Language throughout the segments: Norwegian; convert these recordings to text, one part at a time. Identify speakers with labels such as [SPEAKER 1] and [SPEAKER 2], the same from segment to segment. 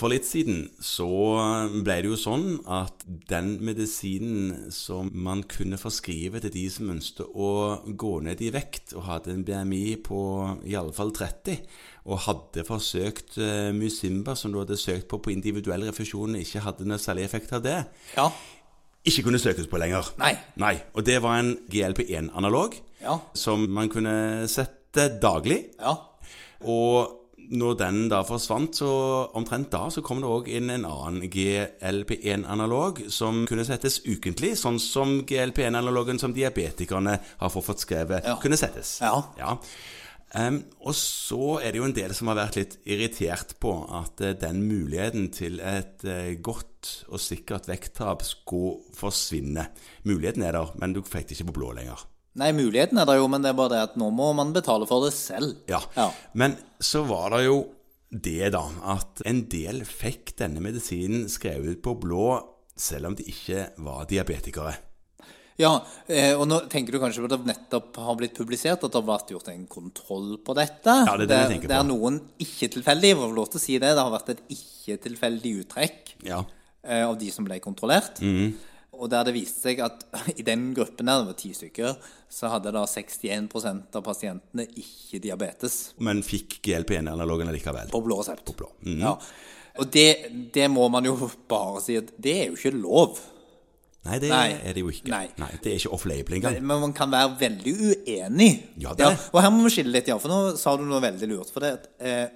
[SPEAKER 1] For litt siden så ble det jo sånn at den medisinen som man kunne forskrive til de som ønsket å gå ned i vekt og hadde en BMI på i alle fall 30, og hadde forsøkt eh, Musimba, som du hadde søkt på på individuell refusjon, ikke hadde noe særlig effekt av det,
[SPEAKER 2] Ja.
[SPEAKER 1] ikke kunne søkes på lenger.
[SPEAKER 2] Nei.
[SPEAKER 1] Nei. Og det var en GLP-1-analog
[SPEAKER 2] Ja.
[SPEAKER 1] som man kunne sette daglig.
[SPEAKER 2] Ja.
[SPEAKER 1] Og når den da forsvant, så omtrent da så kom det òg inn en annen GLP-1-analog som kunne settes ukentlig, sånn som GLP-1-analogen som diabetikerne har fått forskrevet,
[SPEAKER 2] Ja.
[SPEAKER 1] kunne settes.
[SPEAKER 2] Ja.
[SPEAKER 1] Em, og så er det jo en del som har vært litt irritert på at eh, den muligheten til et eh, godt og sikkert vekttap skulle forsvinne. Muligheten er der, men du fikk det ikke på blå lenger.
[SPEAKER 2] Nei, muligheten er der jo, men det er bare det at nå må man betale for det selv.
[SPEAKER 1] Ja.
[SPEAKER 2] Ja.
[SPEAKER 1] Men så var det jo det, da, at en del fikk denne medisinen skrevet ut på blå selv om de ikke var diabetikere.
[SPEAKER 2] Ja, eh, og nå tenker du kanskje på at det nettopp har blitt publisert at det har vært gjort en kontroll på dette.
[SPEAKER 1] Ja, det er det jeg tenker
[SPEAKER 2] det
[SPEAKER 1] på.
[SPEAKER 2] er noen ikke-tilfeldige, får vi lov til å si det. Det har vært et ikke-tilfeldig uttrekk
[SPEAKER 1] Ja.
[SPEAKER 2] eh, av de som ble kontrollert.
[SPEAKER 1] Mhm.
[SPEAKER 2] Og der det viste seg at i den gruppen der, det var ti stykker, så hadde da 61 av pasientene ikke diabetes
[SPEAKER 1] Men fikk GLP-1-analogen allikevel.
[SPEAKER 2] på blå resept.
[SPEAKER 1] blå.
[SPEAKER 2] Ja. Og det, det må man jo bare si at det er jo ikke lov.
[SPEAKER 1] Nei, det
[SPEAKER 2] Nei.
[SPEAKER 1] er det jo ikke.
[SPEAKER 2] Nei.
[SPEAKER 1] Det er ikke off-label engang.
[SPEAKER 2] Men man kan være veldig uenig.
[SPEAKER 1] Ja, det er det.
[SPEAKER 2] og her må vi skille litt, ja, for nå sa du noe veldig lurt. For det at eh,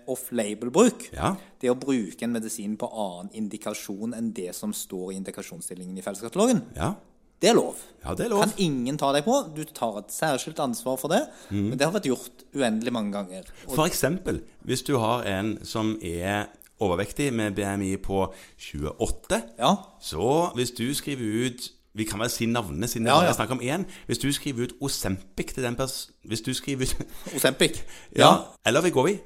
[SPEAKER 2] off-label-bruk,
[SPEAKER 1] Ja.
[SPEAKER 2] det å bruke en medisin på annen indikasjon enn det som står i indikasjonsstillingen i felleskatalogen,
[SPEAKER 1] Ja.
[SPEAKER 2] det er lov.
[SPEAKER 1] ja, det er lov.
[SPEAKER 2] Kan ingen ta deg på. Du tar et særskilt ansvar for det.
[SPEAKER 1] Mm.
[SPEAKER 2] Men det har vært gjort uendelig mange ganger. Og,
[SPEAKER 1] For eksempel, hvis du har en som er overvektig med BMI på 28,
[SPEAKER 2] ja,
[SPEAKER 1] Så hvis du skriver ut Vi kan vel si navnene, siden
[SPEAKER 2] Ja,
[SPEAKER 1] vi
[SPEAKER 2] ja.
[SPEAKER 1] bare snakker om én. Hvis du skriver ut Osempic til den pers... Hvis du skriver ut
[SPEAKER 2] Osempic.
[SPEAKER 1] Ja. Eller Vigovi.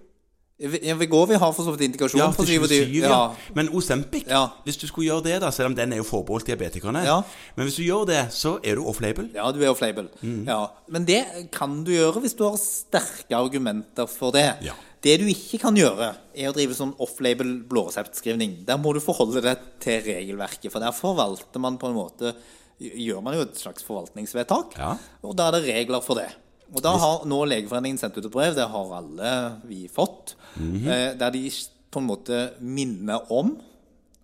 [SPEAKER 2] Vegovi har for så vidt indikasjon
[SPEAKER 1] Ja,
[SPEAKER 2] på
[SPEAKER 1] til
[SPEAKER 2] 27.
[SPEAKER 1] 27. Ja. Men Osempic,
[SPEAKER 2] Ja.
[SPEAKER 1] hvis du skulle gjøre det, da, selv om den er jo forbeholdt diabetikerne
[SPEAKER 2] Ja.
[SPEAKER 1] Men hvis du gjør det, så er du off-label.
[SPEAKER 2] Ja, du er off-label. Ja. Men det kan du gjøre hvis du har sterke argumenter for det.
[SPEAKER 1] Ja.
[SPEAKER 2] Det du ikke kan gjøre, er å drive sånn off-label blåreseptskrivning. Der må du forholde deg til regelverket, for der forvalter man på en måte Gjør man jo et slags forvaltningsvedtak,
[SPEAKER 1] Ja.
[SPEAKER 2] og da er det regler for det. Og da har nå Legeforeningen sendt ut et brev, det har alle vi fått, eh, der de på en måte minner om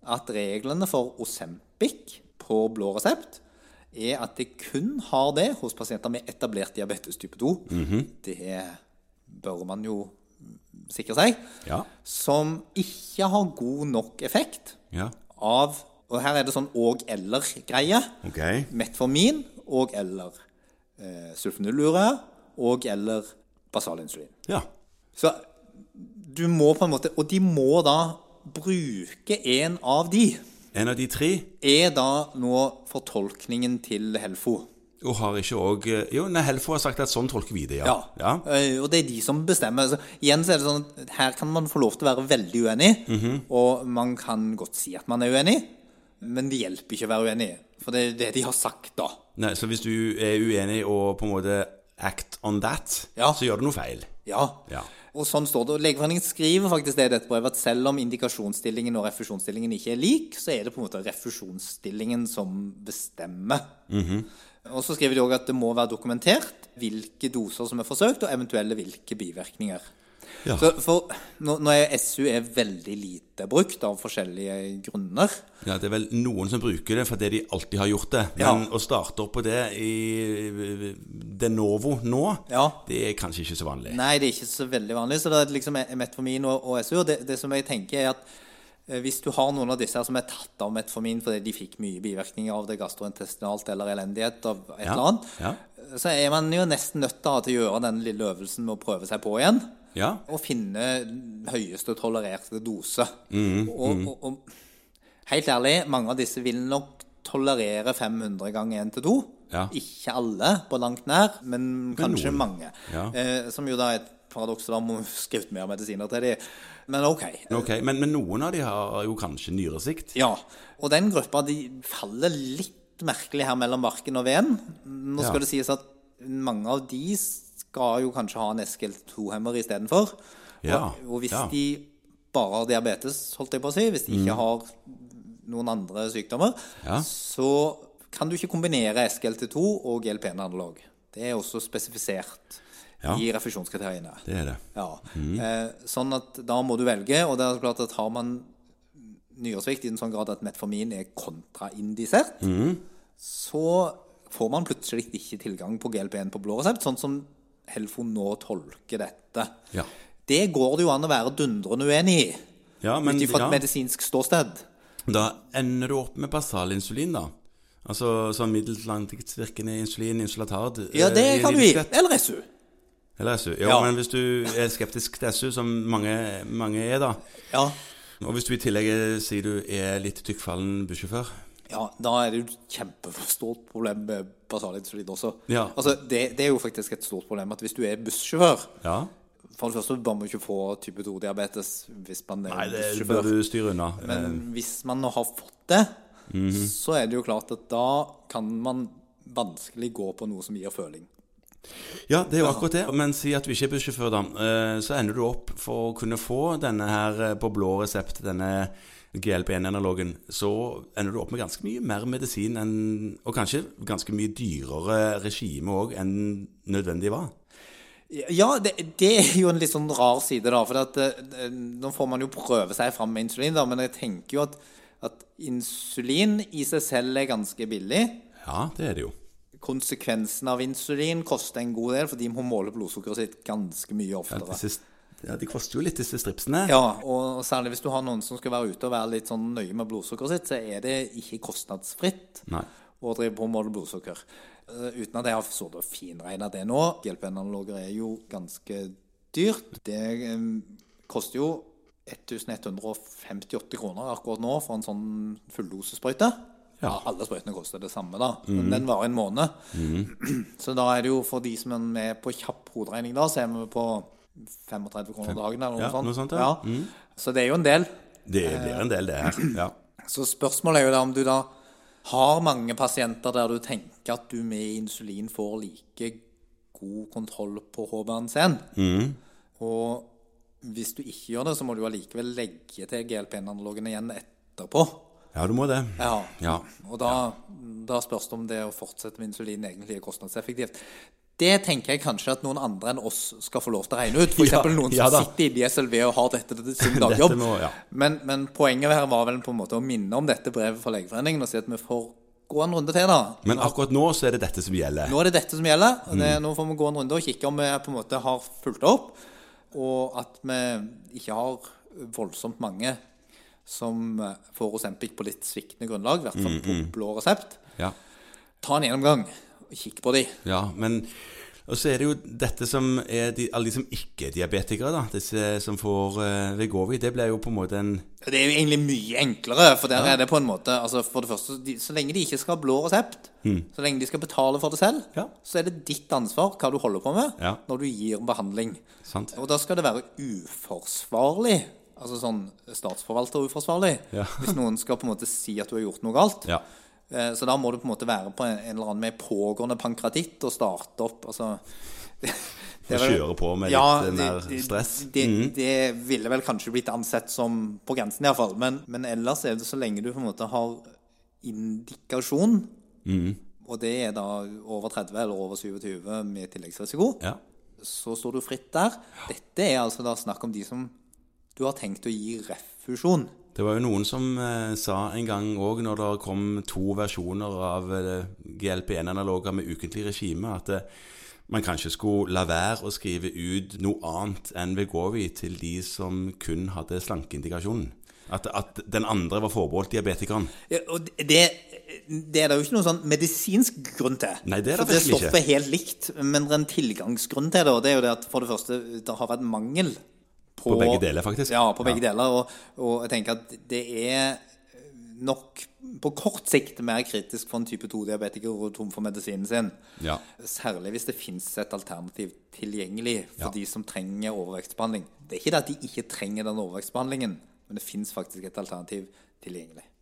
[SPEAKER 2] at reglene for Osempic på blå resept er at det kun har det hos pasienter med etablert diabetes type 2. Det bør man jo sikre seg.
[SPEAKER 1] Ja.
[SPEAKER 2] Som ikke har god nok effekt
[SPEAKER 1] ja.
[SPEAKER 2] av Og her er det sånn og-eller-greie.
[SPEAKER 1] Ok.
[SPEAKER 2] Metformin og-eller eh, sulfonylurea og-eller basalinsulin.
[SPEAKER 1] Ja.
[SPEAKER 2] Så du må på en måte Og de må da bruke en av de
[SPEAKER 1] En av de tre
[SPEAKER 2] er da nå fortolkningen til Helfo.
[SPEAKER 1] og har ikke òg Jo, nei, Helfo har sagt at sånn tolker vi det, ja. ja.
[SPEAKER 2] Eh, Og det er de som bestemmer. Så igjen så er det sånn at her kan man få lov til å være veldig uenig, og man kan godt si at man er uenig, men det hjelper ikke å være uenig, for det er det de har sagt da.
[SPEAKER 1] Nei, så hvis du er uenig og på en måte act on that,
[SPEAKER 2] Ja.
[SPEAKER 1] så gjør du noe feil.
[SPEAKER 2] Ja.
[SPEAKER 1] Ja.
[SPEAKER 2] Og sånn står det. Og Legeforeningen skriver faktisk det i dette brevet, at selv om indikasjonsstillingen og refusjonsstillingen ikke er lik, så er det på en måte refusjonsstillingen som bestemmer.
[SPEAKER 1] Mhm.
[SPEAKER 2] Og så skriver de òg at det må være dokumentert hvilke doser som er forsøkt, og eventuelle hvilke bivirkninger.
[SPEAKER 1] Ja.
[SPEAKER 2] Så for, nå, nå er SU er veldig lite brukt av forskjellige grunner.
[SPEAKER 1] Ja, Det er vel noen som bruker det fordi de alltid har gjort det.
[SPEAKER 2] Ja.
[SPEAKER 1] Men å starte opp på det i De Novo nå,
[SPEAKER 2] Ja.
[SPEAKER 1] det er kanskje ikke så vanlig.
[SPEAKER 2] Nei, det er ikke så veldig vanlig. Så det er liksom metformin og, og SU. Og det, det som jeg tenker er at eh, hvis du har noen av disse her som er tatt av metformin fordi de fikk mye bivirkninger av det gastrointestinalt eller elendighet av et
[SPEAKER 1] Ja,
[SPEAKER 2] eller annet,
[SPEAKER 1] ja.
[SPEAKER 2] så er man jo nesten nødt til å ha til å gjøre den lille øvelsen med å prøve seg på igjen.
[SPEAKER 1] Ja,
[SPEAKER 2] Og finne høyeste tolererte dose.
[SPEAKER 1] Mm,
[SPEAKER 2] og, og, og helt ærlig, mange av disse vil nok tolerere 500 ganger 1 til 2.
[SPEAKER 1] Ja.
[SPEAKER 2] Ikke alle på langt nær, men kanskje
[SPEAKER 1] noen.
[SPEAKER 2] mange.
[SPEAKER 1] Ja.
[SPEAKER 2] Eh, som jo da er et paradoks, for da må vi skrive ut mer medisiner til dem. Men ok.
[SPEAKER 1] ok. Men, men noen av de har jo kanskje nyresikt.
[SPEAKER 2] Ja. Og den gruppa de faller litt merkelig her mellom barken og veden. Nå skal
[SPEAKER 1] Ja.
[SPEAKER 2] det sies at mange av de skal jo kanskje ha en SGL2-hemmer istedenfor.
[SPEAKER 1] Ja,
[SPEAKER 2] Og, og hvis
[SPEAKER 1] ja.
[SPEAKER 2] de bare har diabetes, holdt jeg på å si, hvis de ikke har noen andre sykdommer,
[SPEAKER 1] Ja.
[SPEAKER 2] så kan du ikke kombinere SGLT2 og GLP-analog. Det er også spesifisert
[SPEAKER 1] Ja.
[SPEAKER 2] i refusjonskriteriene.
[SPEAKER 1] Det er det.
[SPEAKER 2] Ja.
[SPEAKER 1] Mm.
[SPEAKER 2] Eh, sånn at da må du velge, og det er klart at har man nyresvikt i en sånn grad at metformin er kontraindisert,
[SPEAKER 1] Mm.
[SPEAKER 2] så får man plutselig ikke tilgang på GLP-1 på blå resept, sånn som Helfo nå tolker dette.
[SPEAKER 1] Ja.
[SPEAKER 2] Det går det jo an å være dundrende uenig i,
[SPEAKER 1] Ja, men
[SPEAKER 2] ut ifra
[SPEAKER 1] ja.
[SPEAKER 2] et medisinsk ståsted.
[SPEAKER 1] Da ender du opp med basalinsulin, da. Altså sånn middelangtidsvirkende insulin, insulatard
[SPEAKER 2] Ja,
[SPEAKER 1] eh,
[SPEAKER 2] det
[SPEAKER 1] i en
[SPEAKER 2] kan du
[SPEAKER 1] liten
[SPEAKER 2] gi.
[SPEAKER 1] skvett.
[SPEAKER 2] Eller SU.
[SPEAKER 1] Eller SU. Jo,
[SPEAKER 2] Ja.
[SPEAKER 1] men hvis du er skeptisk til SU, som mange, mange er, da
[SPEAKER 2] Ja.
[SPEAKER 1] Og hvis du i tillegg eh, sier du er litt tykkfallen bussjåfør
[SPEAKER 2] ja, da er det jo et kjempestort problem med basalinsulin også.
[SPEAKER 1] Ja.
[SPEAKER 2] Altså, det, det er jo faktisk et stort problem at hvis du er bussjåfør,
[SPEAKER 1] Ja.
[SPEAKER 2] For det første bør man ikke få type 2-diabetes hvis man er
[SPEAKER 1] Nei, det bør
[SPEAKER 2] bussjåfør.
[SPEAKER 1] du styre unna.
[SPEAKER 2] Men hvis man nå har fått det,
[SPEAKER 1] Mhm.
[SPEAKER 2] så er det jo klart at da kan man vanskelig gå på noe som gir føling.
[SPEAKER 1] Ja, det er jo akkurat det. Men si at du ikke er bussjåfør, da. eh, Så ender du opp for å kunne få denne her eh, på blå resept, denne GLP-1-analogen, så ender du opp med ganske mye mer medisin enn Og kanskje ganske mye dyrere regime òg enn nødvendig var.
[SPEAKER 2] Ja, det, det er jo en litt sånn rar side, da. For at, eh, nå får man jo prøve seg fram med insulin, da, men jeg tenker jo at, at insulin i seg selv er ganske billig.
[SPEAKER 1] Ja, det er det jo.
[SPEAKER 2] Konsekvensen av insulin koster en god del, fordi man måler blodsukkeret sitt ganske mye oftere.
[SPEAKER 1] Disse, ja, de koster jo litt, disse stripsene.
[SPEAKER 2] Ja, og særlig hvis du har noen som skal være ute og være litt sånn nøye med blodsukkeret sitt, så er det ikke kostnadsfritt
[SPEAKER 1] Nei.
[SPEAKER 2] å drive på med måle blodsukker. Eh, uten at jeg har sittet og finregna det nå. Hjelpeanaloger er jo ganske dyrt. Det eh, koster jo 1158 kroner akkurat nå for en sånn fulldosesprøyte. Ja. alle sprøytene koster det samme, da.
[SPEAKER 1] Mhm.
[SPEAKER 2] Men den varer en måned. Så da er det jo for de som er med på kjapp hoderegning, da, så er vi på 35 kroner dagen eller noe
[SPEAKER 1] Ja,
[SPEAKER 2] sånt.
[SPEAKER 1] noe sånt,
[SPEAKER 2] ja.
[SPEAKER 1] ja. Mhm.
[SPEAKER 2] Så det er jo en del.
[SPEAKER 1] Det
[SPEAKER 2] Eh.
[SPEAKER 1] blir en del, det her. Ja.
[SPEAKER 2] Så spørsmålet er jo da om du da har mange pasienter der du tenker at du med insulin får like god kontroll på HbA1c-en. Og hvis du ikke gjør det, så må du allikevel legge til GLP-analogene igjen etterpå.
[SPEAKER 1] ja, du må det.
[SPEAKER 2] Ja.
[SPEAKER 1] Ja.
[SPEAKER 2] Og da, da spørs det om det å fortsette med insulin egentlig er kostnadseffektivt. Det tenker jeg kanskje at noen andre enn oss skal få lov til å regne ut. F.eks.
[SPEAKER 1] Ja,
[SPEAKER 2] noen som
[SPEAKER 1] ja da.
[SPEAKER 2] sitter i BSLV og har dette til sin dagjobb.
[SPEAKER 1] Dette må- ja.
[SPEAKER 2] men, men poenget her var vel på en måte å minne om dette brevet fra Legeforeningen og si at vi får gå en runde til, da.
[SPEAKER 1] Men Mm. akkurat nå så er det dette som gjelder.
[SPEAKER 2] Nå er det dette som gjelder. og Det, nå får vi gå en runde og kikke om vi på en måte har fulgt opp, og at vi ikke har voldsomt mange som får Osempic på litt sviktende grunnlag, i hvert fall
[SPEAKER 1] Mm,
[SPEAKER 2] på blå resept.
[SPEAKER 1] Ja.
[SPEAKER 2] Ta en gjennomgang og kikk på de.
[SPEAKER 1] Ja, men Og så er det jo dette som er de, alle de som ikke er diabetikere, da. Disse som får uh, Vegovi. Det blir jo på en måte en
[SPEAKER 2] Det er jo egentlig mye enklere, for der er det på en måte altså For det første, de, så lenge de ikke skal ha blå resept, så lenge de skal betale for det selv,
[SPEAKER 1] Mm. Ja.
[SPEAKER 2] så er det ditt ansvar hva du holder på med
[SPEAKER 1] Ja.
[SPEAKER 2] når du gir behandling.
[SPEAKER 1] Sant?
[SPEAKER 2] Og da skal det være uforsvarlig. Altså sånn statsforvalter-uforsvarlig.
[SPEAKER 1] Ja.
[SPEAKER 2] Hvis noen skal på en måte si at du har gjort noe galt.
[SPEAKER 1] Ja.
[SPEAKER 2] Eh, Så da må du på en måte være på en, en eller annen med pågående pankratitt og starte opp. Altså det
[SPEAKER 1] Og
[SPEAKER 2] er vel-
[SPEAKER 1] kjøre på med litt, eh, mer stress. Mm.
[SPEAKER 2] Det, det ville vel kanskje blitt ansett som på grensen, iallfall. Men, men ellers er det så lenge du på en måte har indikasjon,
[SPEAKER 1] Mm.
[SPEAKER 2] og det er da over 30 eller over 27 med tilleggsrisiko,
[SPEAKER 1] Ja.
[SPEAKER 2] så står du fritt der. Dette er altså da snakk om de som du har tenkt å gi refusjon.
[SPEAKER 1] Det var jo noen som eh, sa en gang òg, når det kom to versjoner av eh, GLP-1-analoger med ukentlig regime, at eh, man kanskje skulle la være å skrive ut noe annet enn Vegovi til de som kun hadde slankeindikasjonen. At, at den andre var forbeholdt diabetikeren.
[SPEAKER 2] Ja, Og det, det er det jo ikke noen sånn medisinsk grunn til.
[SPEAKER 1] Nei, det er det
[SPEAKER 2] For det
[SPEAKER 1] virkelig ikke.
[SPEAKER 2] stoffet er helt likt, men det er en tilgangsgrunn til det. Og det er jo det at for det første, det har vært mangel på,
[SPEAKER 1] På begge deler, faktisk.
[SPEAKER 2] Ja, på begge
[SPEAKER 1] Ja.
[SPEAKER 2] deler. Og, og jeg tenker at det er nok på kort sikt mer kritisk for en type 2-diabetiker å gå tom for medisinen sin.
[SPEAKER 1] Ja.
[SPEAKER 2] Særlig hvis det fins et alternativ tilgjengelig for
[SPEAKER 1] Ja.
[SPEAKER 2] de som trenger overvektsbehandling. Det er ikke det at de ikke trenger den overvektsbehandlingen, men det fins faktisk et alternativ tilgjengelig.